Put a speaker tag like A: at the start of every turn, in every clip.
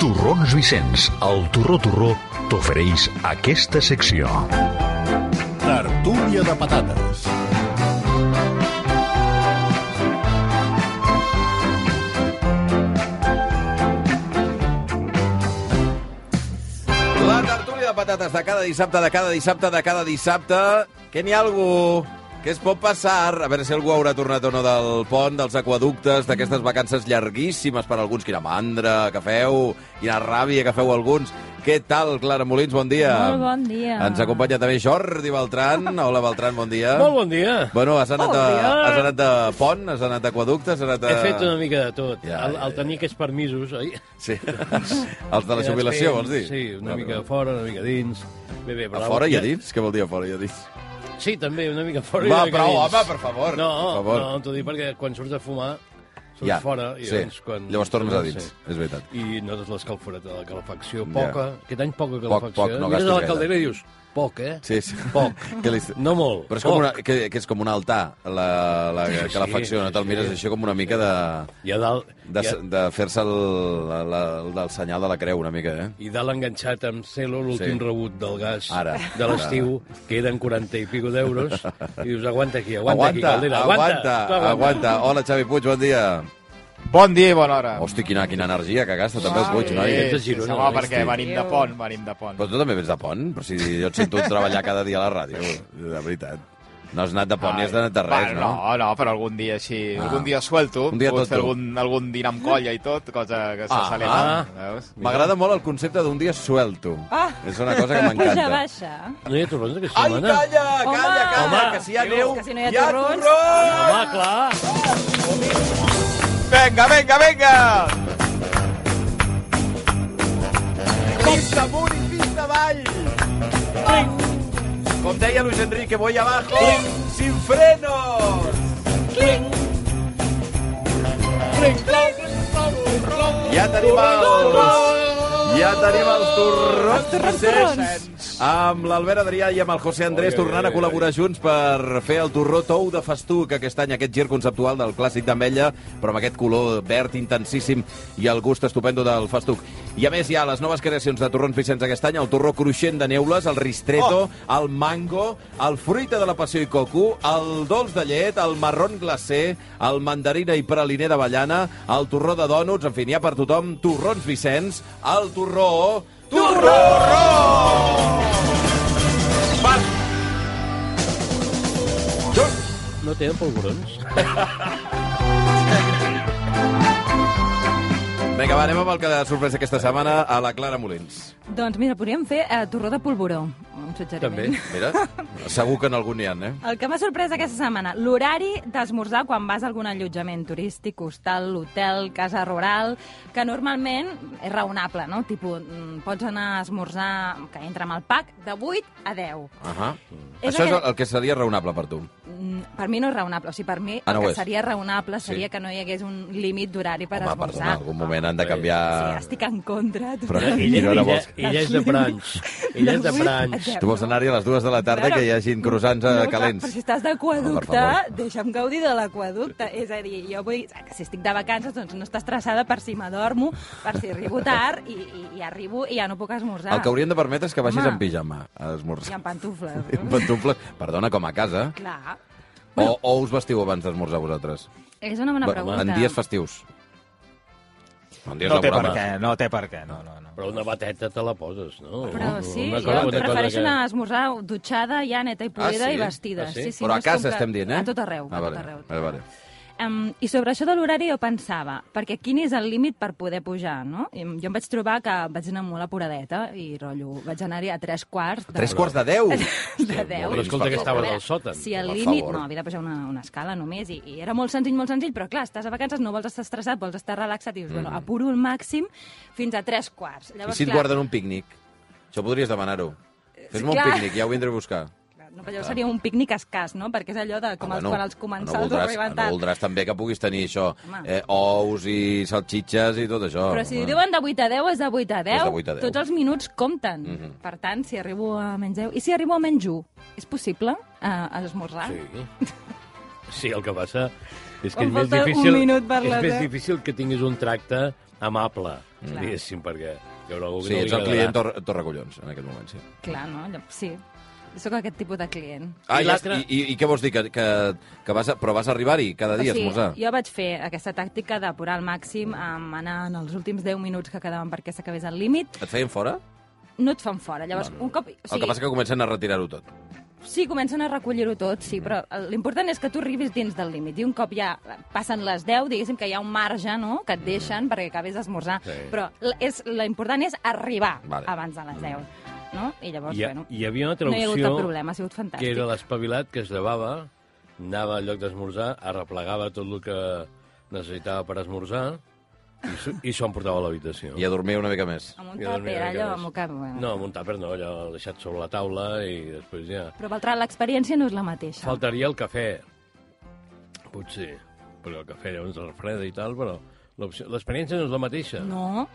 A: Torrons Vicenç, el Torró Torró, t'ofereix aquesta secció.
B: Tertúlia de patates.
C: La tertúlia de patates de cada dissabte, de cada dissabte, de cada dissabte. Que n'hi ha algú? Què es pot passar? A veure si algú haurà tornat o no del pont, dels aquaductes, d'aquestes vacances llarguíssimes per alguns. Quina mandra que feu, quina ràbia que feu alguns. Què tal, Clara Molins? Bon dia.
D: Molt bon dia.
C: Ens acompanya també Jordi Beltran. Hola, Beltran, bon dia.
E: Molt bon dia.
C: Bueno, has anat,
E: Bon
C: a,
E: dia.
C: has anat de pont, has anat d'aquaducte, has anat a...
E: He fet una mica de tot.
C: Ja,
E: Ja, el,
C: ja,
E: el tenir aquests permisos... Ai,
C: Sí. Els de la jubilació, vols dir?
E: Sí, una
C: Vale,
E: mica
C: vale.
E: a fora, una mica a dins... Bé, bé,
C: A fora i a dins? Què vol dir a fora i a dins?
E: Sí, també, una mica a fora
C: Va,
E: i una mica
C: prou,
E: a dins.
C: home, per favor,
E: No,
C: per favor.
E: no, t'ho dic perquè quan surts a fumar, surts
C: Ja,
E: fora i
C: sí.
E: llavors... Quan...
C: Llavors tornes a dins, és veritat.
E: I notes l'escalforeta de la calefacció,
C: Ja.
E: poca, aquest any poca calefacció. eh?
C: poc, no
E: Mires
C: gastis
E: a
C: gaire.
E: la caldera i dius, poc, eh?
C: Sí, sí.
E: Poc.
C: Que li-
E: No molt,
C: Però és com
E: poc.
C: una, que, que és com un altar, la, la
E: Sí,
C: sí, calefacció.
E: sí,
C: no te'l
E: sí.
C: mires això com una mica de...
E: I a dalt...
C: De,
E: i, a,
C: de fer-se el, la- la- el, del senyal de la creu, una mica, eh?
E: i dalt enganxat amb celo l'últim
C: Sí.
E: sí. rebut del gas
C: Ara.
E: de l'estiu, que eren 40 i pico d'euros, i dius, aguanta aquí, aguanta, aquí,
C: aguanta,
E: caldera, aguanta,
C: aguanta, aguanta. Hola, Xavi Puig, bon dia.
F: Bon dia i bona hora.
C: Hosti, quina, quina energia que gasta, també el Puig,
E: Sí,
C: noi.
E: ets de Girona,
F: home,
E: no?
F: perquè venim de pont, venim de pont.
C: Però tu també vens de pont? Però si jo et sento treballar cada dia a la ràdio, de veritat. No has anat de pont ni has anat de res,
F: Bueno,
C: no?
F: No, no, però algun dia així,
C: Ah.
F: ah. algun dia suelto,
C: Un dia tot
F: pots fer
C: tu.
F: algun, algun dinar amb colla i tot, cosa que se
C: Ah,
F: celebra,
C: ah.
F: veus?
C: M'agrada molt el concepte d'un dia suelto.
D: Ah.
C: És una cosa que
D: Puja
C: m'encanta.
D: baixa.
E: No hi ha torrons aquesta
C: Ai,
E: setmana?
C: Ah, calla, calla, calla,
E: Home.
C: que si hi ha
D: Dius
C: neu,
D: que si no hi ha torrons.
C: torrons!
E: Home, clar!
F: Vinga, vinga, vinga!
C: Pista amunt i pista avall! Com deia Luis Enrique, voy abajo, sin frenos! Ja tenim els... Ja tenim els torrons torrons. Amb l'Albert Adrià i amb el José Andrés tornant a col·laborar junts per fer el torró tou de festuc aquest any, aquest gir conceptual del clàssic d'Ambella, però amb aquest color verd intensíssim i el gust estupendo del festuc. I a més hi ha les noves creacions de torrons Vicenç aquest any, el torró cruixent de neules, el ristretto, oh. el mango, el fruita de la passió i coco, el dolç de llet, el marron glacé, el mandarina i praliner d'avellana, el torró de dònuts, en fi, n'hi ha per tothom, torrons Vicenç, el torró... Torró!
E: No tenen polvorons?
C: Vinga, va, anem amb el que ha sorprès aquesta setmana a la Clara Molins.
D: Doncs mira, podríem fer eh, torró de polvoró. Un
E: També.
D: suggeriment.
C: Mira, segur que en algun n'hi ha, eh?
D: El que m'ha sorprès aquesta setmana, l'horari d'esmorzar quan vas a algun allotjament turístic, hostal, hotel, casa rural, que normalment és raonable, no? Tipo, mm, pots anar a esmorzar, que entra amb el pack, de 8 a 10.
C: Uh -huh.
D: És
C: Això és
D: aquest-
C: el que seria raonable per tu.
D: Mm, Per mi no és raonable, o sigui, per mi
C: Ah, no
D: el
C: ho
D: que
C: és.
D: seria raonable
C: Sí.
D: seria que no hi hagués un límit d'horari per
C: Home,
D: esmorzar.
C: perdona, en algun moment han de
D: Sí,
C: canviar...
D: estic en contra.
C: Eh, Però
D: totalment.
C: I no
E: ella,
C: era
E: ella,
C: bo.
E: ella és de Prans. Ella és de Prans.
C: Tu vols anar-hi a les dues de la tarda que hi hagin croissants eh,
D: eh? no,
C: calents.
D: Clar, però si estàs
C: Home, per
D: d'aquaducte,
C: favor.
D: deixa'm gaudir de l'aquaducte. És a dir, jo vull que si estic de vacances, doncs no està estressada per si m'adormo, per si arribo tard, i, i, i arribo i ja no puc esmorzar.
C: El que hauríem de permetre és que baixis
D: Home.
C: en pijama a
D: I
C: esmorzar.
D: amb pantufles.
C: I amb pantufles. Perdona, com a casa.
D: Clar.
C: O, o us vestiu abans d'esmorzar vosaltres?
D: És una bona
C: Va,
D: pregunta.
C: En dies festius. No, en dies
F: No té per
C: laborals.
F: què, no té per què, no, no, no.
E: Però una bateta te la poses, no?
C: Oh,
D: Però
E: Una
D: sí,
E: cosa-
D: jo
E: una cosa
D: prefereixo
E: que-
D: anar a esmorzar dutxada, ja neta i polida
C: Ah, sí?
D: i vestida.
E: Ah, sí?
D: Sí, sí,
C: Però
D: no
C: a
D: és com
C: casa
D: que-
C: estem dient, eh?
D: A tot arreu,
C: Ah,
D: a
C: vale.
D: tot arreu. a tot
C: Vale, vale.
D: arreu. Um, I sobre això de l'horari jo pensava, perquè quin és el límit per poder pujar, no? I jo em vaig trobar que vaig anar molt apuradeta i, rotllo, vaig anar-hi a tres quarts de...
C: Tres quarts de deu!
D: de deu.
E: Però escolta, que estaves al sòtan.
D: Si el
C: Per
D: límit...
C: favor.
D: No, havia de pujar una, una escala només, i, i era molt senzill, molt senzill, però clar, estàs a vacances, no vols estar estressat, vols estar relaxat, i dius, bueno, apuro el màxim fins a tres quarts.
C: Mm. I
D: Llavors,
C: si et
D: clar,
C: guarden un pícnic? Això podries demanar-ho. Fes-me un
D: clar.
C: pícnic, ja ho vindré a buscar.
D: Clar, No, però seria un pícnic escàs, no? Perquè és allò de com els, quan els comensals
C: no voldràs,
D: arriben
C: No
D: tard.
C: voldràs també que puguis tenir això,
D: Home.
C: eh, ous i salxitxes i tot això.
D: Però si
C: home.
D: diuen de 8 a 10, és de 8 a 10.
C: És de 8 a Mhm. 10.
D: Tots els minuts compten. Mm -hmm. Per tant, si arribo a menys 10... I si arribo a menys 1, és possible eh, esmorzar?
E: Sí. Sí, el que passa és que
D: Em
E: és més
D: falta un
E: difícil,
D: minut per
E: és
D: les eh?
E: més
D: deu.
E: difícil que tinguis un tracte amable, mm. diguéssim, perquè hi haurà algú que
C: Sí,
E: no li
C: ets el client
E: agradarà.
C: tor Torracollons, en aquest moment, sí.
D: Clar, no? Allò- Sí, sóc aquest tipus de client.
C: Ah,
E: I
C: I,
E: l'altre-
C: i, i, i què vols dir? Que, que, que vas a, però vas arribar-hi cada dia a esmorzar?
D: jo vaig fer aquesta tàctica d'apurar al màxim, um, anar en els últims 10 minuts que quedaven perquè s'acabés el límit,
C: Et feien fora?
D: no et fan fora. Llavors, un cop...
C: Sí. El que passa que comencen a retirar-ho tot.
D: Sí, comencen a recollir-ho tot, sí, però eh, l'important és que tu arribis dins del límit. I un cop ja passen les 10, diguéssim que hi ha un marge, no?, que et deixen perquè acabis d'esmorzar.
E: Sí.
D: Però l- és, l'important és arribar
C: Vale.
D: abans de les 10, no? I llavors,
E: Hi, ha,
D: Doncs bueno,
E: hi havia una altra
D: no hi ha hagut
E: opció
D: cap problema, ha sigut fantàstic.
E: que era l'espavilat que es llevava, anava al lloc d'esmorzar, arreplegava tot el que necessitava per esmorzar i, s'ho- i s'ho emportava a l'habitació.
C: I a dormir una mica més.
D: Amb un
E: I a dormir
D: tàper,
E: una mica
D: allò,
E: més.
D: amb un cap... Bueno.
E: No, amb un tàper no, allò deixat sobre la taula i després ja...
D: Però, Beltrán, l'experiència no és la mateixa.
E: Faltaria el cafè, potser, perquè el cafè llavors es refreda i tal, però l'opció- l'experiència no és la mateixa.
D: No,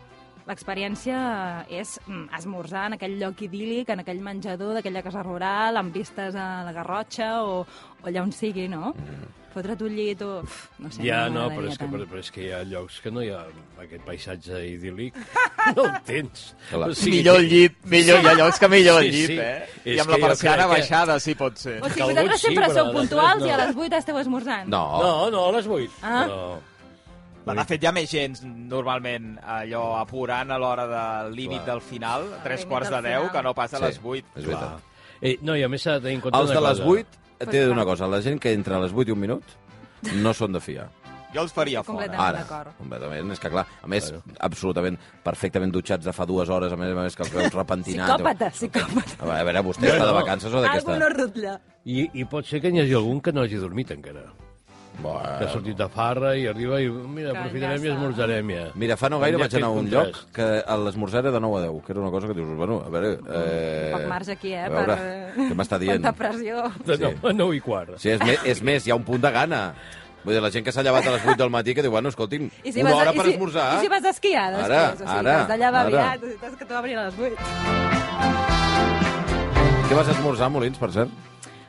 D: l'experiència és mm, esmorzar en aquell lloc idíl·lic, en aquell menjador d'aquella casa rural, amb vistes a la Garrotxa o, o allà on sigui, no? Mm.
C: Mm-hmm.
D: Fotre't un llit o... uf, No sé,
E: Ja, no,
D: m'agradaria
E: però és, que,
D: tant.
E: però, però és que hi ha llocs que no hi ha aquest paisatge idíl·lic. No el tens.
C: Clar.
F: Millor el llit, millor, hi ha llocs que millor el
E: Sí,
F: llit,
E: sí.
F: eh?
E: És
F: I amb
E: que
F: la
E: jo
F: persiana
E: crec que-
F: baixada, sí, pot ser.
D: O
E: que
D: sigui,
E: alguns
D: vosaltres
E: sí,
D: sempre sou
E: però d'altres
D: puntuals
E: no.
D: no. i a les 8 esteu esmorzant.
C: No.
E: No, no, a les 8.
D: Ah.
E: Però...
F: Bueno, de fet, hi ha més gens, normalment, allò apurant a l'hora del límit
E: Clar.
F: del final, tres
D: límit
F: quarts
D: del
F: de deu,
D: final.
F: que no passa a les vuit.
C: És veritat.
E: Eh, no, i a més s'ha de tenir en compte
C: Els de
E: una
C: les
E: cosa.
C: 8, t'he de dir una cosa, la gent que entra a les 8 i un minut no són de fiar.
F: Jo els faria
D: Completament.
F: fora.
D: Totalment
C: Ara,
D: d'acord.
C: completament, és que clar, a més,
E: Bueno.
C: absolutament, perfectament dutxats de fa dues hores, a més a més que els veus repentinats.
D: Psicòpata, psicòpata.
C: A veure, a veure, vostè està de vacances o d'aquesta?
D: Algú no rutlla.
E: I, I pot ser que n'hi hagi algun que no hagi dormit encara. Que ha
C: Bueno.
E: sortit de farra i arriba i... Mira,
D: Que ja
E: aprofitarem i
D: està.
E: esmorzarem ja.
C: Mira, fa no gaire
E: Ja
C: vaig anar a
E: fet
C: un lloc
E: contrast.
C: que a l'esmorzar era de 9 a 10, que era una cosa que dius, bueno, a veure... Eh,
D: Poc marge aquí, eh?
C: A veure,
D: per...
C: què m'està dient?
D: Quanta pressió.
E: De nou, a nou i quart.
C: Sí, és, me, és més, hi ha un punt de gana. Vull dir, la gent que s'ha llevat a les 8 del matí que diu, bueno, escolti'm, una hora
D: i
C: per
D: si,
C: esmorzar.
D: I si vas a esquiar, després?
C: Ara,
D: o sigui,
C: ara,
D: vas d'allà va
C: ara.
D: virat, necessites que t'ho obrin a les 8.
C: Què vas esmorzar, Molins, per cert?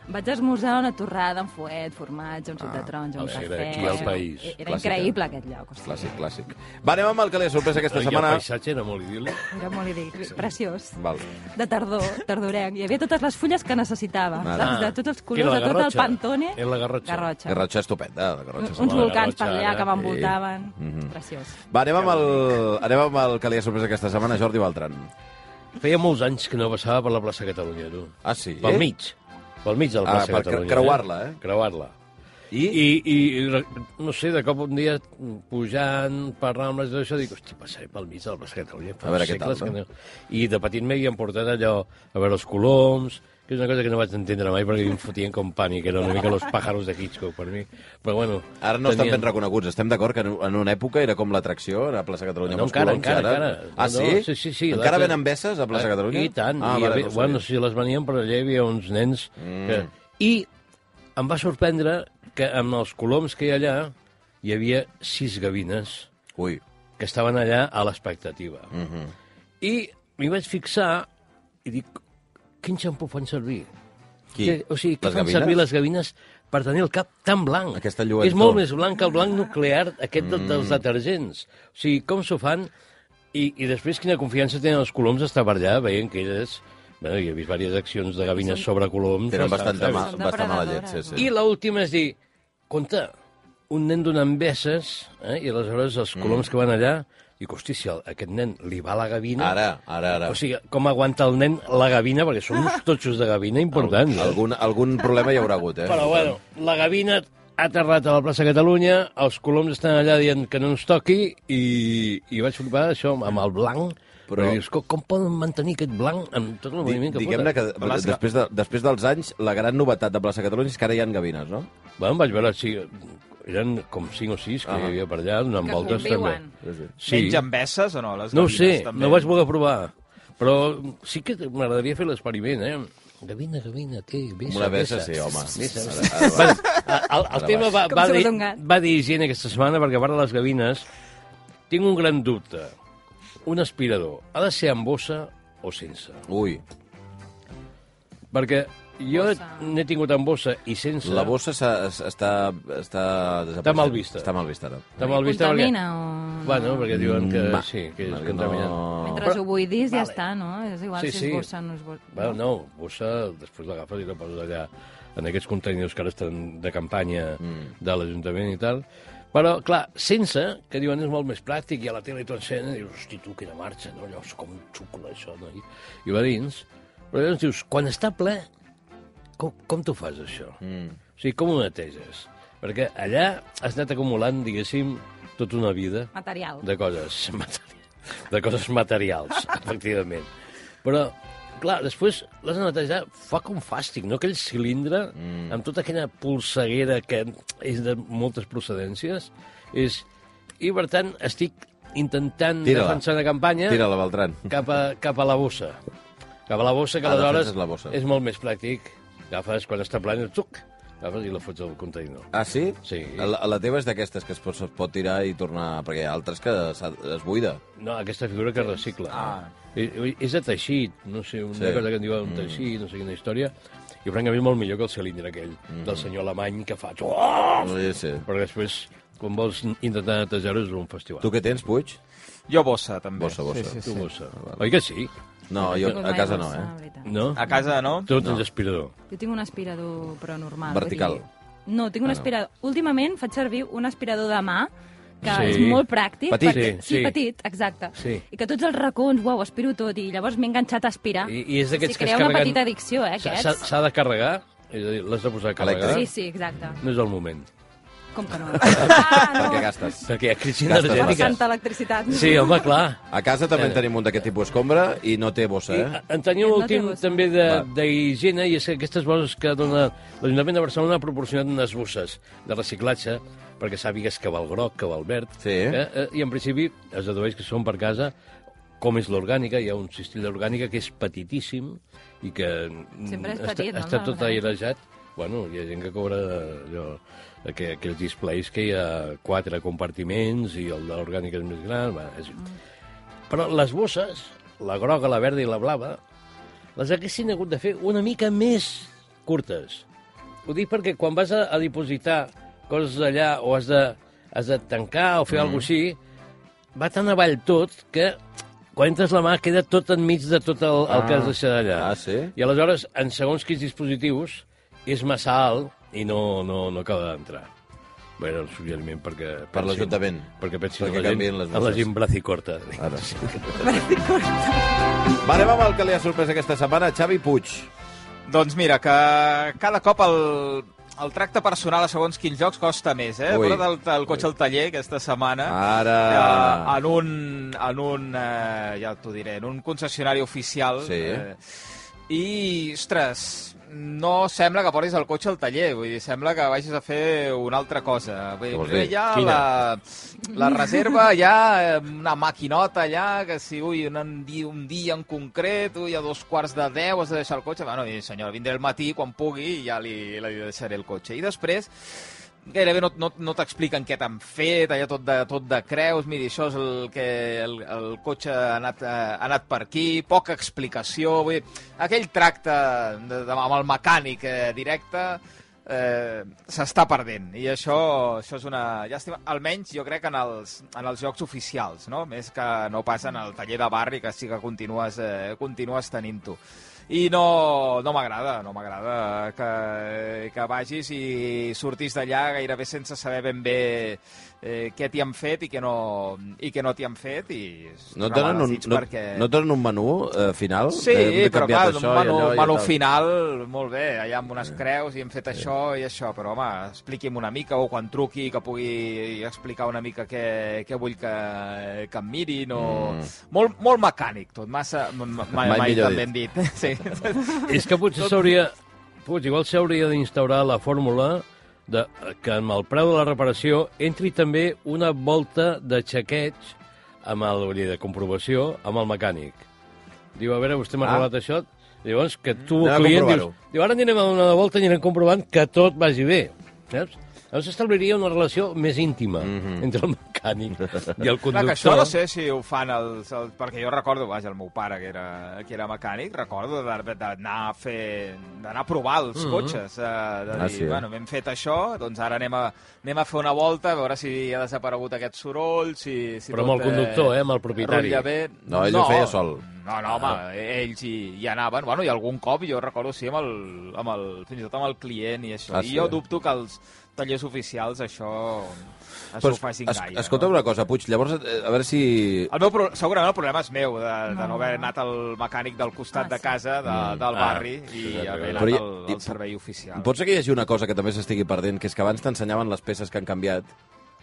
D: Vaig esmorzar una torrada amb fuet, formatge, un suc
E: Ah,
D: de taronja, un
E: o sigui,
D: cafè...
E: era aquí al país.
D: Era
C: Clàssica.
D: increïble aquest lloc. O sigui,
C: Clàssic, clàssic. Va, anem amb el que li ha sorprès aquesta
E: I el
C: setmana.
E: paisatge era molt idíl·lic.
D: Era molt idíl·lic, preciós.
C: Val.
D: De tardor, tardorenc. Hi havia totes les fulles que necessitava.
C: Ara.
D: Saps? De tots els colors,
E: Era la
D: de tot el
E: Garrotxa?
D: pantone.
E: Era la Garrotxa?
D: Garrotxa.
C: Garrotxa estupenda, la Garrotxa.
D: Uns
E: la
D: volcans per
E: Garrotxa, eh, mm-hmm.
D: allà
E: ara.
D: que
E: Sí.
D: m'envoltaven. Preciós.
C: Va, anem amb, el, anem amb el que li ha sorprès aquesta setmana, Jordi Beltran.
E: Feia molts anys que no passava per la plaça Catalunya, tu.
C: Ah, sí?
E: Pel mig. Pel mig de la
C: Ah,
E: plaça
C: per cre-
E: Catalunya.
C: creuar-la, eh?
E: Creuar-la.
C: I? I...
E: I, i, i re- no sé, de cop un dia pujant per Rambles i tot això, dic, hosti, passaré pel mig de la plaça de Catalunya. fa
C: A veure què
E: segles
C: tal,
E: que
C: no?"
E: I de petit m'hi havien portat allò a veure els coloms, que és una cosa que no vaig entendre mai perquè em fotien com pànic, era una mica los pájaros de Hitchcock per mi. Però bueno...
C: Ara no estan
E: tenien-
C: ben reconeguts. Estem d'acord que en- en una època era com l'atracció, a la plaça Catalunya.
E: No,
C: amb els
E: encara,
C: coloms,
E: encara,
C: ara...
E: encara.
C: Ah,
E: No,
C: sí?
E: no, sí, sí, sí.
C: Encara
E: L'altre-
C: venen besses a plaça
E: Ah,
C: Catalunya?
E: I tant.
C: Ah,
E: I
C: vale, Mm.
E: havia-
C: no ho
E: bueno,
C: sabia.
E: si les venien, però allà hi havia uns nens... Que... I em va sorprendre que amb els coloms que hi ha allà hi havia sis gavines
C: Ui,
E: que estaven allà a l'expectativa. Mm
C: Mhm.
E: -hmm. I m'hi vaig fixar i dic, quin xampú fan servir?
C: qui?
E: Que, o sigui, que
C: Les
E: fan
C: gavines?
E: servir les gavines per tenir el cap tan blanc.
C: Aquesta lluentor.
E: És molt més blanc que el blanc nuclear aquest mm. dels detergents. O sigui, com s'ho fan? I, I després quina confiança tenen els coloms d'estar per allà veient que elles... Bueno, hi he vist diverses accions de gavines sobre coloms. doncs,
C: Tenen bastant de,
E: saps?
C: ma,
D: Són
C: bastant mala llet,
D: depredadores,
C: sí,
D: no?
C: sí.
E: I l'última és dir, compte, un nen donant besses, eh? i aleshores
C: Mm.
E: els coloms que van allà, dic, hosti, si el- aquest nen li va la gavina...
C: Ara, ara, ara.
E: O sigui, com aguanta el nen la gavina, perquè són uns totxos de gavina importants. eh?
C: Algun, algun problema hi haurà hagut, eh?
E: Però, bueno, la gavina ha aterrat a la plaça Catalunya, els coloms estan allà dient que no ens toqui, i, i vaig flipar això amb el blanc,
C: Però-
E: però dius, com, com poden mantenir aquest blanc amb tot el
C: Di-
E: moviment que
C: Diguem-ne que
E: foten?
C: d- després, de, després dels anys, la gran novetat de Plaça Catalunya és que ara hi ha gavines, no?
E: Bueno, vaig veure, sí, eren com cinc o sis que
C: Ah.
E: hi havia per allà, donant
D: Que
E: voltes també.
D: conviuen.
E: Sí.
F: Mengen besses o no, les
E: No ho
F: gavines,
E: sé,
F: també?
E: no ho vaig voler provar. Però sí que m'agradaria fer l'experiment, eh? Gavina, gavina, té,
C: Amb
E: vessa,
C: una vessa, sí, home. Ara- ara
E: Bueno, el, el
C: Ara
E: tema va,
D: Com
E: va,
D: surt
E: dir,
D: un gat.
E: va dir higiene aquesta setmana, perquè a part de les gavines, tinc un gran dubte. Un aspirador ha de ser amb bossa o sense?
C: Ui,
E: Perquè jo
D: Bossa.
E: n'he tingut amb bossa i sense...
C: La bossa s'ha- s- està, està desapareixent.
E: Està mal vista.
C: Està mal vista, ara.
E: Està mal vista
D: Contamina
E: perquè...
D: o...
E: Bueno, perquè diuen que
C: Va,
E: sí, que és
C: perquè
E: contaminant.
D: Mentre
E: Però-
D: ho buidis ja
E: Vale.
D: està, no? És igual
E: Sí,
D: si
E: sí.
D: es bossa o no es bossa.
E: Bueno, no, bossa, després l'agafes i la poses allà, en aquests contenidors que ara estan de campanya mm. de l'Ajuntament i tal. Però, clar, sense, que diuen és molt més pràctic, i a la tele t'ho encenen, i dius, hosti, tu, quina marxa, no? Allò és com xucla, això, no? I, i va dins. Però llavors dius, quan està ple, com, com t'ho fas, això? Mm. O sigui, com ho neteges? Perquè allà has anat acumulant, diguéssim, tota una vida
D: Material.
E: de coses, materi- de coses materials, efectivament. Però, clar, després l'has de netejar, fa com fàstic, no? Aquell cilindre, mm. amb tota aquella polseguera que és de moltes procedències, és... I, per tant, estic intentant
C: Tira-la.
E: defensar una campanya
C: Tira-la, Beltran.
E: cap a, cap a la bossa. Cap a la bossa, que
C: Ah,
E: aleshores
C: defenses la bossa.
E: és molt més pràctic. Agafes, quan està plana, tuc, agafes i la fots al contenidor.
C: Ah, sí?
E: Sí.
C: La, la teva és d'aquestes que es pot, es pot tirar i tornar... Perquè hi ha altres que s'ha- es buida.
E: No, aquesta figura que recicla.
F: Ah. Mm.
E: I- i- És de teixit, no sé, una
C: Sí.
E: sí. cosa que en diuen un teixit, no sé quina història, i francament molt millor que el cilindre aquell mm. del senyor alemany que fa... Oh!
C: Sí, sí.
E: Però després, quan vols intentar netejar-ho, és un festival.
C: Tu què tens, Puig?
F: Jo bossa, també.
C: Bossa, bossa.
F: Sí, sí, Ah,
E: tu
F: sí.
E: bossa. Oi que sí?
C: No, jo
D: Tinc
C: a
D: mai
C: casa no,
D: bossa, la
C: eh?
D: veritat.
E: No?
F: A casa, no?
E: Tu tens aspirador.
D: Jo tinc un aspirador, però normal.
C: Vertical.
D: vull dir- No, tinc un aspirador. Últimament faig servir un aspirador de mà, que
E: Sí.
D: és molt pràctic.
C: Petit.
D: perquè-
E: Sí,
D: sí,
E: sí.
D: petit, exacte.
E: Sí.
D: I que tots els racons, uau, aspiro tot, i llavors m'he enganxat a aspirar.
E: I, i és d'aquests
D: Sí,
E: que es
D: crea una
E: carreguen...
D: petita addicció, eh,
E: S'ha-
D: aquests.
E: s'ha- S'ha de carregar, és a dir, l'has de posar a carregar.
C: Elèctric.
D: Sí, sí, exacte.
E: No és el moment.
D: Com que no? Ah, no.
C: Perquè gastes.
E: Perquè hi ha crisi
C: Gastes
E: energètica.
D: Tanta electricitat.
E: Sí, home, clar.
C: A casa també en
F: Eh.
C: tenim un d'aquest tipus escombra i no té bossa, eh?
E: I en tenia un
D: No té
E: últim
D: bossa.
E: també de-
C: Va.
E: d'higiene, i és que aquestes bosses que dona l'Ajuntament de Barcelona ha proporcionat unes bosses de reciclatge perquè sàpigues que val groc, que val verd,
C: Sí.
E: eh? Eh, i en principi es dedueix que són per casa com és l'orgànica, hi ha un cistell d'orgànica que és petitíssim i que mm,
D: Sempre és
E: està,
D: petit, no,
E: està tot
D: l'orgànica?
E: airejat. Bueno, hi ha gent que cobra eh, allò, aqu aquells displays que hi ha quatre compartiments i el de l'orgànica és més gran. Va, és...
D: Mm.
E: Però les bosses, la groga, la verda i la blava, les haguessin hagut de fer una mica més curtes. Ho dic perquè quan vas a, a dipositar coses allà o has de, has de tancar o fer mm. alguna cosa així, va tan avall tot que quan entres la mà queda tot enmig de tot el, el que has deixat allà.
C: Ah, sí?
E: I aleshores, en segons quins dispositius, és massa alt i no, no, no acaba d'entrar. Bé, era el suggeriment perquè...
C: Per
E: pensin-
C: l'Ajuntament.
E: Perquè pensin
C: Perquè
E: en la
C: canviïn
E: gent,
C: les
E: en la
C: bosses. Ah.
E: gent bracicorta.
C: Ara sí. Va, anem amb el que li ha sorprès aquesta setmana, Xavi Puig.
F: Doncs mira, que cada cop el, el tracte personal a segons quins jocs costa més, eh?
C: Ui.
F: Ui. del, del cotxe al taller aquesta setmana.
E: Ah,
C: Ara.
F: Eh, en un, en un eh, ja t'ho diré, en un concessionari oficial.
C: Sí.
F: Eh, I, ostres, no sembla que portis el cotxe al taller, vull dir, sembla que vagis a fer una altra cosa. Vull
C: Què
F: dir,
C: vols
F: primer
C: dir?
F: hi ha
E: Quina?
F: la, la reserva, hi ha eh, una maquinota allà, que si ui, un, un dia, un dia en concret, ui, a dos quarts de deu has de deixar el cotxe, bueno, i senyora, vindré el matí quan pugui i ja li, li deixaré el cotxe. I després, gairebé no, no, no t'expliquen què t'han fet, allà tot de, tot de creus, miri, això és el que el, el cotxe ha anat, eh, ha anat per aquí, poca explicació, vull dir, aquell tracte de, de, amb el mecànic eh, directe eh, s'està perdent, i això, això és una llàstima, almenys jo crec en els, en els jocs oficials, no? més que no passa en el taller de barri, que sí que continues, eh, continues tenint-ho i no, no m'agrada, no m'agrada que, que vagis i sortis d'allà gairebé sense saber ben bé eh, què t'hi han fet i què no, i què no t'hi han fet i és
C: No et
F: una
C: donen
F: mala
C: un,
F: desig
C: no,
F: perquè...
C: no et donen un menú eh, final?
F: Sí,
C: Hem
F: però clar,
C: canviat
F: un
C: això i
F: menú,
C: allò i
F: menú
C: tal.
F: final, molt bé, allà amb unes creus i hem fet això i això, però home, expliqui'm una mica, o quan truqui que pugui explicar una mica què, què vull que, que em mirin, o... Molt, molt mecànic tot, massa... m- m- Mai, mai,
C: Mm. millor
F: també hem dit. Sí.
E: És que potser s'hauria... Potser igual s'hauria d'instaurar la fórmula de, que amb el preu de la reparació entri també una volta de xequeig amb el, vull dir, de comprovació amb el mecànic. Diu, a veure, vostè m'ha
C: Ah.
E: ah. regalat això? Llavors, que tu,
C: Anem a
E: client, dius,
C: comprovar-ho.
E: diu, ara anirem a donar una volta i anirem
C: Mhm.
E: comprovant que tot vagi bé. Saps? Llavors s'establiria una relació més íntima mm -hmm. entre el mecànic mecànic i el
F: Clar,
E: conductor...
F: que això no sé si ho fan els, els... Perquè jo recordo, vaja, el meu pare, que era, que era mecànic, recordo de- d'anar a fer... d'anar a provar els
E: Mm-hmm.
F: mm -hmm. cotxes. Eh, de dir,
C: Ah,
F: ah,
C: sí,
F: sí.
C: eh?
F: bueno, hem fet això, doncs ara anem a, anem a fer una volta, a veure si ha desaparegut aquest soroll, si... si
E: Però amb el conductor, eh, amb el propietari.
F: rutlla Bé.
C: No, ell ho feia sol.
F: No, no, home, ells hi, hi anaven. Bueno, i algun cop, jo recordo, sí, amb el, amb el, fins i tot amb el client i això.
C: Ah,
F: Ah,
C: sí,
F: I jo
C: eh?
F: dubto que els tallers oficials això, això
C: Però
F: ho facin
C: es,
F: gaire.
C: escolta'm una cosa, Puig, llavors, eh, a veure si...
F: El meu pro... Segurament el problema és meu, de, no. de
D: No.
F: no haver anat al mecànic del costat
D: Ah,
F: de
D: sí.
F: casa, de,
E: Mm.
F: del
E: Ah,
F: barri,
E: sí,
F: i
E: sí,
F: haver
E: sí.
F: anat
C: Però
F: al,
C: i- i-
F: al servei oficial.
C: Pot ser que hi hagi una cosa que també s'estigui perdent, que és que abans t'ensenyaven les peces que han canviat.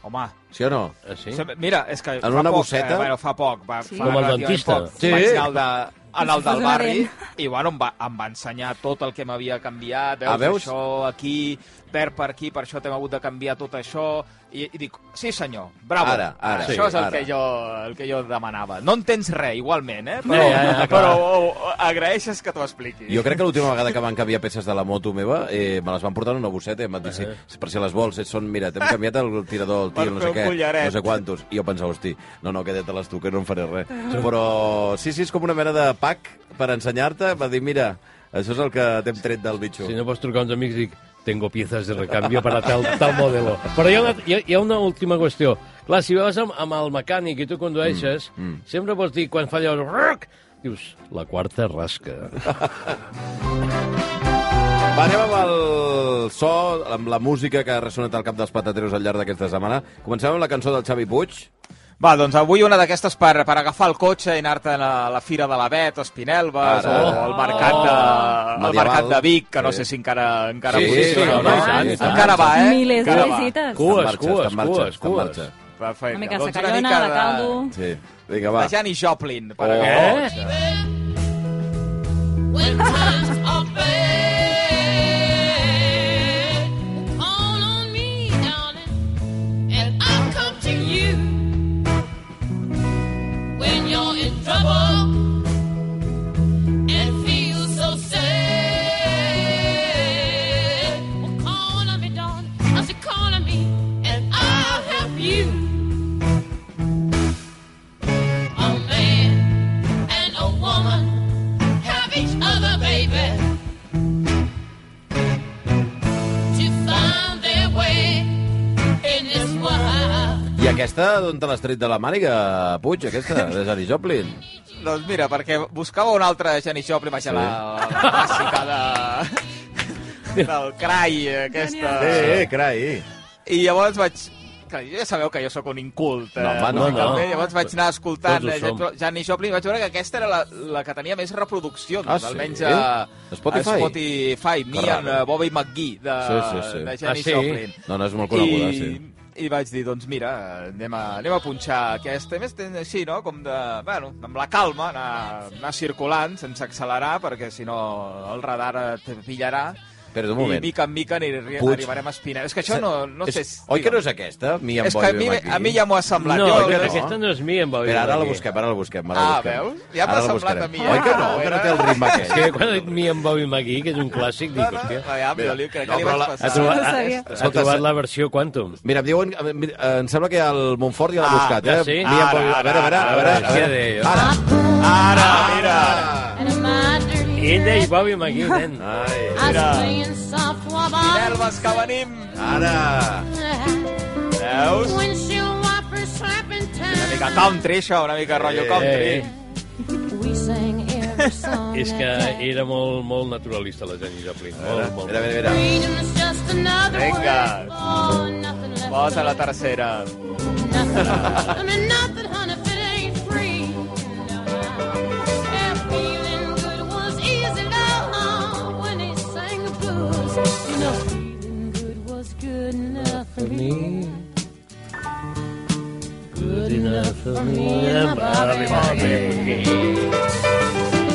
F: Home,
C: Sí o no?
E: Ah, sí?
F: sí? mira, és que
C: una
F: fa poc,
C: bosseta?
F: Eh, bueno, fa poc, va,
D: Sí.
F: fa
E: Com el
F: relativament
E: dentista.
F: Poc,
C: Sí.
F: Vaig anar al de,
D: Si
F: en el
D: fos
F: del
D: una
F: barri
D: dent.
F: i bueno, em va, em va ensenyar tot el que m'havia canviat veus,
C: Ah, veus?
F: això aquí, verd per aquí per això t'hem hagut de canviar tot això i, i dic, sí senyor, bravo
C: Ara, ara,
F: això
C: sí,
F: és el,
C: ara.
F: Que jo, el que jo demanava no entens res, igualment eh? però,
E: ja, ja, clar.
F: però oh, agraeixes que t'ho expliquis
C: Jo crec que l'última vegada que van canviar peces de la moto meva eh, me les van portar en una bosseta i em van dir, sí, per si les vols, eh, són, mira, t'hem canviat el tirador, el
F: Per
C: tir, no
F: fer
C: sé
F: un
C: què,
F: collaret.
C: no sé quantos. I jo pensava, hosti, no, no, quedat-te-les tu, que no em faré res. Però sí, sí, és com una mena de pack per ensenyar-te, va dir, mira, això és el que t'hem tret del bitxo.
E: Si no pots trucar a uns amics, dic, tengo piezas de recambio para tal, tal modelo. Però hi ha, una, hi, ha, hi ha una última qüestió. Clar, si vas amb, amb el mecànic i tu condueixes, mm, mm. sempre pots dir, quan fa allò... "Ruc", Dius, la quarta rasca.
C: Va, anem amb el so, amb la música que ha ressonat al cap dels patateros al llarg d'aquesta setmana. Comencem amb la cançó del Xavi Puig.
F: Va, doncs avui una d'aquestes per, per agafar el cotxe i anar-te a la Fira de l'Avet, o Espinelves,
C: Ara.
F: o al mercat
C: Oh.
F: de, al
C: Medieval.
F: mercat de Vic, que no
C: Sí.
F: sé si encara, encara
C: Sí,
F: funciona,
E: sí,
F: no?
E: sí, sí, sí.
F: encara va, eh?
D: Milers de
F: encara va.
D: visites.
E: Cues,
C: Està en marxa,
E: cues,
C: està en marxa,
E: cues,
C: està en
E: cues.
C: marxa.
F: Va,
D: Una mica de
F: doncs
D: sacallona, de caldo...
C: Sí. Vinga, va.
F: De Janis Joplin. Per
C: Oh.
F: aquest.
E: Eh?
B: When times are bad, call on me, darling, and I'll come to you. When you're in trouble and feel so sad, well, call on me, darling. I said, call on me, and I'll help you. A man and a woman help each other, baby, to find their way in this world.
C: I aquesta, d'on te l'has tret de la màniga, Puig, aquesta, de Janis Joplin?
F: Doncs mira, perquè buscava una altra Janis Joplin, vaja,
C: Sí.
F: la, la clàssica de... del crai, aquesta...
D: Genial.
C: eh, carai.
F: I llavors vaig... Clar, ja sabeu que jo sóc un incult. eh,
C: No, home, no,
F: musicalment,
E: no.
F: Llavors vaig anar escoltant
E: Tots ho som.
F: eh, Janis Joplin i vaig veure que aquesta era la, la que tenia més reproduccions,
C: Ah, sí?
F: almenys a,
C: A Spotify?
F: A Spotify, me
C: raro.
F: and eh, Bobby McGee, de,
C: Sí, sí, sí.
F: de
E: Ah,
F: Janis
E: sí?
F: Joplin.
C: No, no, és molt coneguda, I... sí.
F: I vaig dir, doncs mira, anem a, anem a punxar aquesta. A més, tens així, no?, com de... Bueno, amb la calma, anar, anar circulant sense accelerar, perquè si no el radar et pillarà.
C: Espera un
F: I
C: moment.
F: mica en mica anirri,
C: Puig.
F: arribarem a Espinel. És que això no, no sé...
C: És, oi que no és aquesta? Mi em
F: És que a mi, a mi ja m'ho ha semblat.
E: No,
F: jo,
E: no,
C: no.
E: aquesta no és mi, em va dir.
C: Espera, ara la busquem, ara la busquem. Ara la
F: Ah,
C: busquem.
F: veus? Ja
C: Ara
F: m'ha
C: la
F: semblat
C: buscarem.
F: a mi, eh?
C: Oi que no? Que no té el ritme
E: És que quan
C: aquest.
E: ha dit mi en Bobby McGee, que és un clàssic, dic, hòstia,
F: Aviam, jo li, crec que li
C: però
F: vaig
C: la-
F: passar.
E: ha trobat,
D: No
E: ha,
D: sabia.
E: ha trobat la versió Quantum.
C: Mira, em diuen... eh, mira, eh, Em sembla que el Montfort ja l'ha
F: Ah,
C: buscat, eh?
E: ja sí.
C: Mi em
F: Ara,
C: Bobby- A veure, a veure, a veure.
E: Ara,
C: a
E: què
C: veure.
E: deia?
C: Ara.
F: Ara, mira!
D: And my dirty
E: Ella i Bobby McGee, nen.
C: Ai,
B: I was
F: Mira.
B: playing softball
F: Nerves que venim!
C: ara.
F: Veus?
B: when she wipers slapping
F: Una mica
B: time.
F: country, això, una mica rotllo country.
E: Eh.
B: We sang every song.
E: És que
B: that day.
E: era molt, molt naturalista, la Janis Joplin. Molt, molt.
C: Mira, mira, mira.
B: Freedom is just another
F: Venga.
B: word for nothing left.
F: Posa la tercera.
B: Nothing. I mean nothing, honey, if it ain't free. No, no. And feeling good was easy, love, when they sang the blues. You know, feeling good was good enough for me.
E: Good enough for
B: me and my Bobby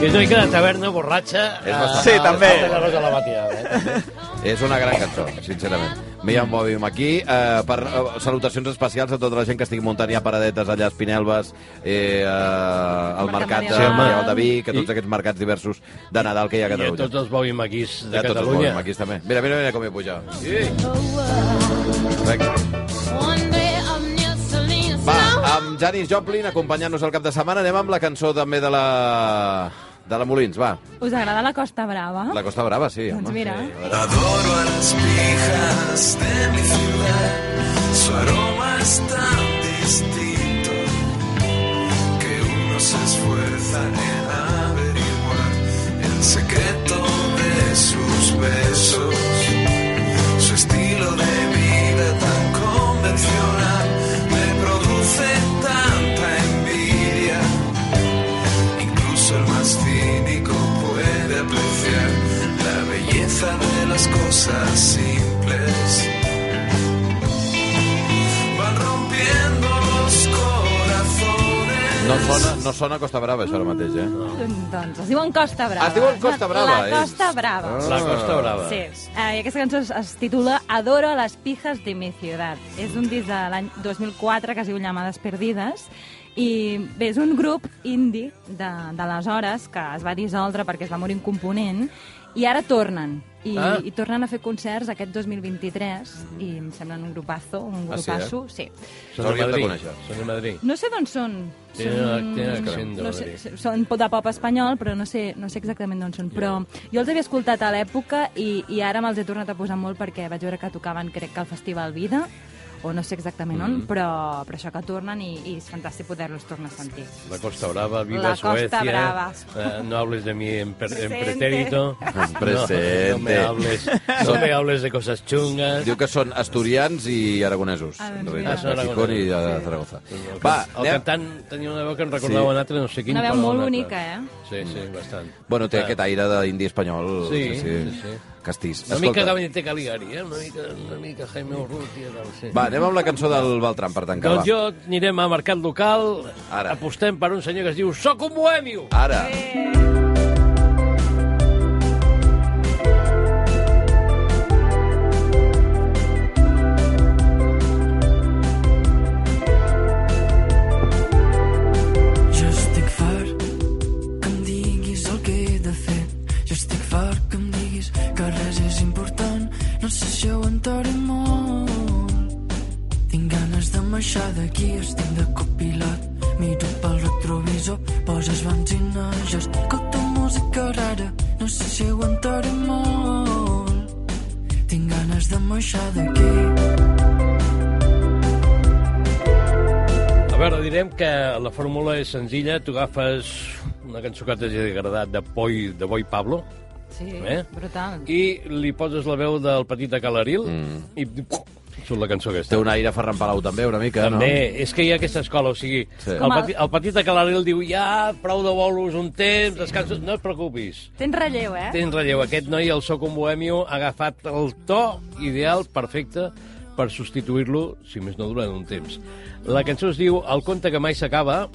E: És una mica de taverna borratxa.
C: És bastant-
F: Sí, també.
E: De la Rosa la Matinada, eh?
C: És una gran cançó, sincerament. Miriam Bobby aquí. Eh, per, eh, salutacions especials a tota la gent que estigui muntant ja paradetes allà a Espinelves, eh, eh, al mercat de,
D: Sí, home.
C: Medieval de Vic, a tots
E: I-
C: aquests mercats diversos de Nadal que hi ha a
E: I a
C: Catalunya.
E: tots els Bobby McGee's de
C: a tots els
E: Catalunya.
C: Bobby Maquis, també. Mira, mira, mira com hi puja. Sí.
B: Oh, uh,
C: Correcte.
B: One day I'm near Salinas
C: amb Janis Joplin acompanyant-nos el cap de setmana. Anem amb la cançó també de la... de la Molins, va.
D: Us agrada la Costa Brava?
C: La Costa Brava, sí.
D: Doncs
C: home.
D: mira.
C: Sí, a veure.
G: Adoro a las viejas de mi ciudad, su aroma es tan distinto que uno se esfuerza en averiguar el secreto de sus besos, su estilo de vida tan convencional me produce tanta envidia. Incluso el más cínico puede apreciar la belleza de las cosas simples. Van rompiendo los corazones.
C: No sona, no sona Costa Brava, això ara mateix, eh?
D: Doncs es diuen Costa Brava.
C: Es diuen Costa Brava,
D: La
C: ells.
D: Costa Brava.
E: La Costa Brava.
D: Sí, eh, i aquesta cançó es, es titula Adoro a les pijas de mi ciudad. És un disc de l'any 2004 que es diu Llamades perdides i bé, és un grup indi d'aleshores que es va dissoldre perquè es va morir un component i ara tornen. I, ah.
E: Ah.
D: i tornen a fer concerts aquest 2023 i em semblen un grupazo, un
C: Ah, sí, eh?
D: grupasso, sí.
E: Són de
C: Hauríem de
E: Madrid.
C: conèixer.
E: Són de Madrid.
D: No sé d'on són.
E: Tenen tenen accent de
D: Mm, No sé,
E: Madrid.
D: són de pop espanyol, però no sé, no sé exactament d'on són. Però jo els havia escoltat a l'època i, i ara me'ls he tornat a posar molt perquè vaig veure que tocaven, crec que al Festival Vida, o no sé exactament on,
E: Mm-hmm.
D: però, però això que tornen i, i és fantàstic poder-los tornar a sentir.
E: La Costa Brava, viva
D: La Costa
E: Suecia.
D: Brava.
E: Eh, no hables de mí en, per- en
D: Presente.
E: pretérito.
C: En
E: No, no, me
C: presente.
E: hables, no me hables de cosas chungas.
C: Diu que són asturians i aragonesos.
D: Ah, doncs
C: en
D: mira.
C: realitat,
D: Ah,
E: són
C: de Gijón i de Zaragoza.
E: El,
C: Va,
E: el
C: anem...
E: cantant tenia una veu que em recordava
C: Sí. Mm.
E: sí. un altre, no sé quin.
D: Una veu
E: però
D: molt
E: un altre.
D: bonica, eh?
E: Sí, sí, bastant.
C: Bueno, té
E: Ah.
C: aquest aire d'indi espanyol.
E: Sí, sí, sí.
C: Castís.
E: Una mica Gabinete Caligari, eh? Una mica, una mica Jaime Urrutia. Del... Sí.
C: Va, anem amb la cançó del Beltran per tancar,
E: Doncs jo anirem a Mercat Local,
C: Ara. Ah.
E: Ara. apostem per un senyor que es diu Soc un bohemio!
C: va. Ara.
H: Jo estic fart que em diguis el que he de fer. Jo estic fart que em diguis que res és important. No sé si ho entraré molt. Tinc ganes de marxar d'aquí, estic de copilot. Miro pel retrovisor, poses benzina, jo escolto música rara. No sé si ho entraré molt. Tinc ganes de marxar d'aquí.
E: A veure, direm que la fórmula és senzilla. Tu agafes una cançó que t'hagi agradat de Boi, de Boi Pablo
D: Sí,
E: Eh?
D: brutal.
E: i li poses la veu del petit de Calaril mm. i surt la cançó
C: Té
E: aquesta.
C: un aire Ferran Palau també, una mica,
E: També,
C: no?
E: és que hi ha aquesta escola, o sigui,
C: Sí.
E: sí. el,
D: Com el-
E: peti, el petit de Calaril diu ja, prou de bolos un temps, sí. descansa, no et preocupis.
D: Tens relleu, eh?
E: Tens relleu. Aquest noi, el Soc un Bohemio, ha agafat el to ideal, perfecte, per substituir-lo, si més no, durant un temps. La cançó es diu El conte que mai s'acaba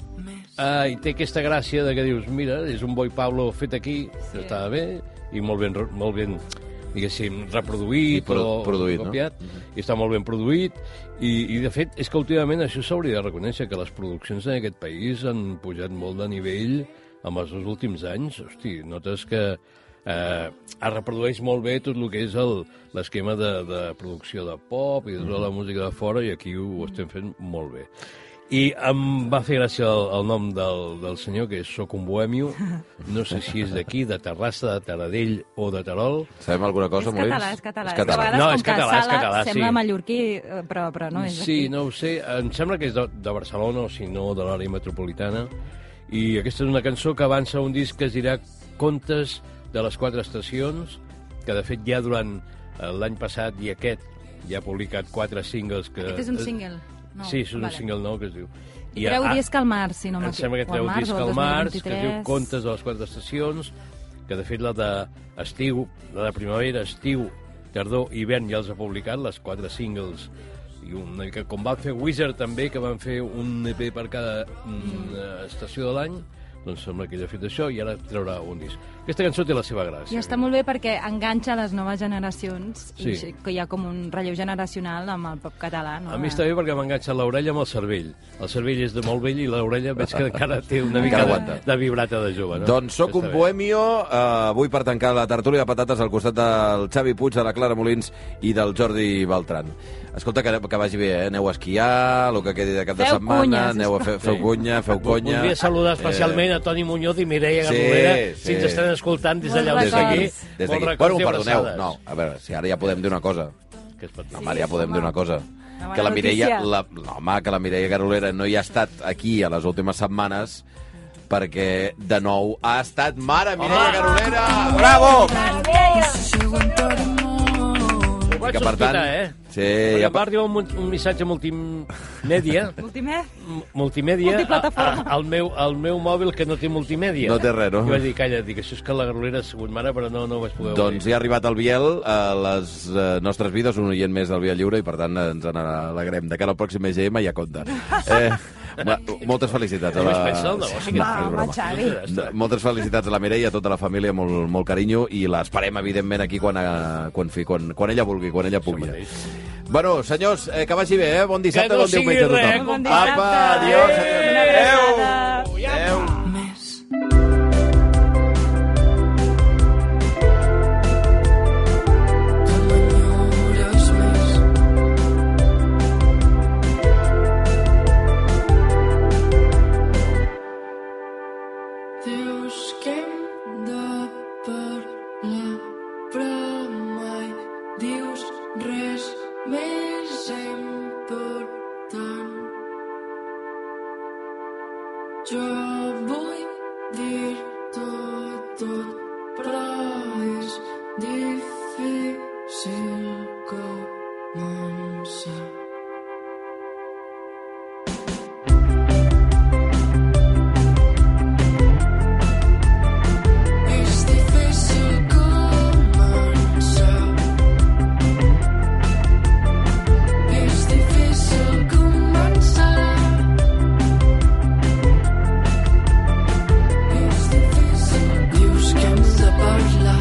E: eh, i té aquesta gràcia de que dius, mira, és un boi Pablo fet aquí, sí. estava bé, i molt ben, re- molt ben diguéssim,
C: I
E: reproduït
C: pro-
E: o
C: produït, no?
E: copiat, no? i està molt ben produït, i, i de fet, és que últimament això s'hauria de reconèixer, que les produccions en aquest país han pujat molt de nivell en els dos últims anys, hosti, notes que eh, es reprodueix molt bé tot el que és el- l'esquema de, de producció de pop i de tota la
C: Mm.
E: música de fora, i aquí ho estem fent molt bé. I em va fer gràcia el, el nom del, del senyor, que és Soc un bohemio, no sé si és d'aquí, de Terrassa, de Taradell o de Terol,
C: Sabem alguna
D: És
C: cosa, Molins?
D: català, és català.
C: És
D: És que a
C: català.
D: vegades,
E: No,
D: com
E: és
D: que
E: català, és
D: Sala
E: català, sí.
D: sembla mallorquí, eh, però, però no és
E: Sí,
D: aquí.
E: no ho sé. Em sembla que és de, de Barcelona o, si no, de l'àrea metropolitana. I aquesta és una cançó que avança un disc que es dirà Contes de les quatre estacions, que, de fet, ja durant eh, l'any passat i aquest ja ha publicat quatre singles que...
D: Aquest és un single. No,
E: sí, és un
D: vale.
E: single nou que es diu.
D: I treu
E: ah,
D: disc al març, si no
E: em
D: m'equivoco.
E: sembla que
D: o al
E: treu
D: març
E: disc
D: o al
E: al març, que es diu
D: 2023.
E: Contes de les quatre estacions, que de fet la d'estiu, la de primavera, estiu, tardor, hivern ja els ha publicat, les quatre singles i una mica E com va fer Wizard també, que van fer un EP per cada mm, eh, estació de l'any, doncs sembla que ell ha fet això i ara traurà un disc. Aquesta cançó té la seva gràcia.
D: I està molt bé perquè enganxa les noves generacions sí. i
E: Sí.
D: que hi ha com un relleu generacional amb el pop català. No?
E: A mi està bé perquè m'enganxa l'orella amb el cervell. El cervell és de molt vell i l'orella veig que encara té una mica de,
C: aguanta.
E: de vibrata de jove. No?
C: Doncs sóc un
E: Està bé.
C: bohemio, eh, avui per tancar la tertúlia de patates al costat del Xavi Puig, de la Clara Molins i del Jordi Beltran. Escolta, que, que vagi bé, eh? Aneu a esquiar, el que quedi de cap de
D: Feu
C: setmana,
D: cunya,
C: aneu a fer, feu
E: Sí.
C: cunya, feu conya... Eh,
E: Voldria saludar especialment a Toni Muñoz i Mireia
C: Sí,
E: Garolera,
C: sí.
E: si ens estan escoltant des d'allà on
D: Molts
C: Eh, Des d'aquí, des
D: records.
E: sigui. Molts
C: d'aquí. Bueno,
E: records i
C: perdoneu,
E: abraçades.
C: no, a veure, si ara ja podem dir una cosa.
E: Que és patit.
C: Home, ara ja podem
D: home.
C: dir una cosa.
D: Una bona
C: Que la Mireia,
D: notícia.
C: la, no, home, que la Mireia Garolera no hi ha estat aquí a les últimes setmanes perquè, de nou, ha estat mare Mireia Garolera! Bravo!
H: Llego en tot el món.
E: Ho vaig sospitar, eh?
C: Sí,
E: Perquè
C: ja,
E: em va arribar un, un missatge multimèdia,
D: Multimer?
E: m- multimèdia
D: Multiplataforma.
E: a- al meu, al meu mòbil que no té multimèdia.
C: No té res, no?
E: I vaig dir, calla, dic, això és que la Garolera ha sigut mare, però no, no ho vaig poder
C: Doncs
E: obrir.
C: ja ha arribat el Biel a les eh, nostres vides, un oient més del Biel Lliure, i per tant eh, ens n'alegrem. De cara al pròxim EGM ja compta. Eh, ma- moltes felicitats.
E: Només pensa en el negoci que
C: No,
E: té.
C: és broma.
D: Home, Xavi.
C: No, Moltes felicitats a la Mireia, a tota la família, molt, molt carinyo, i l'esperem, evidentment, aquí quan, eh, quan, fi- quan, quan ella vulgui, quan ella pugui. Bueno, senyors, eh, que vagi bé, eh? Bon dissabte,
E: Que no
C: bon
E: sigui
C: diumenge a
E: res,
C: tothom.
E: Molt
D: bon dissabte.
C: Apa, adiós. senyors.
D: Una abraçada.
H: Més. Que m'enyores més. Dius que hem de parlar, però mai dius res més important. Jo vull dir tot, tot, però és difícil començar. És difícil començar. És difícil començar. Dius que hem de parlar,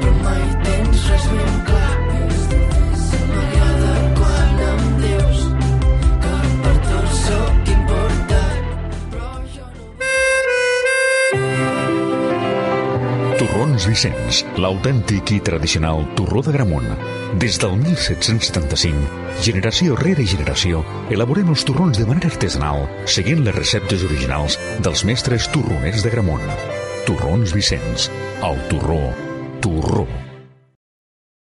H: però mai tens res ben clar. M'agrada quan em dius que per tu sóc important, però jo no...
A: Torrons Vicenç, l'autèntic i tradicional torró de Gramunt. Des del 1775, generació rere generació, elaborem els torrons de manera artesanal, seguint les receptes originals dels mestres torroners de Gramunt. Torrons Vicenç, el torró, torró.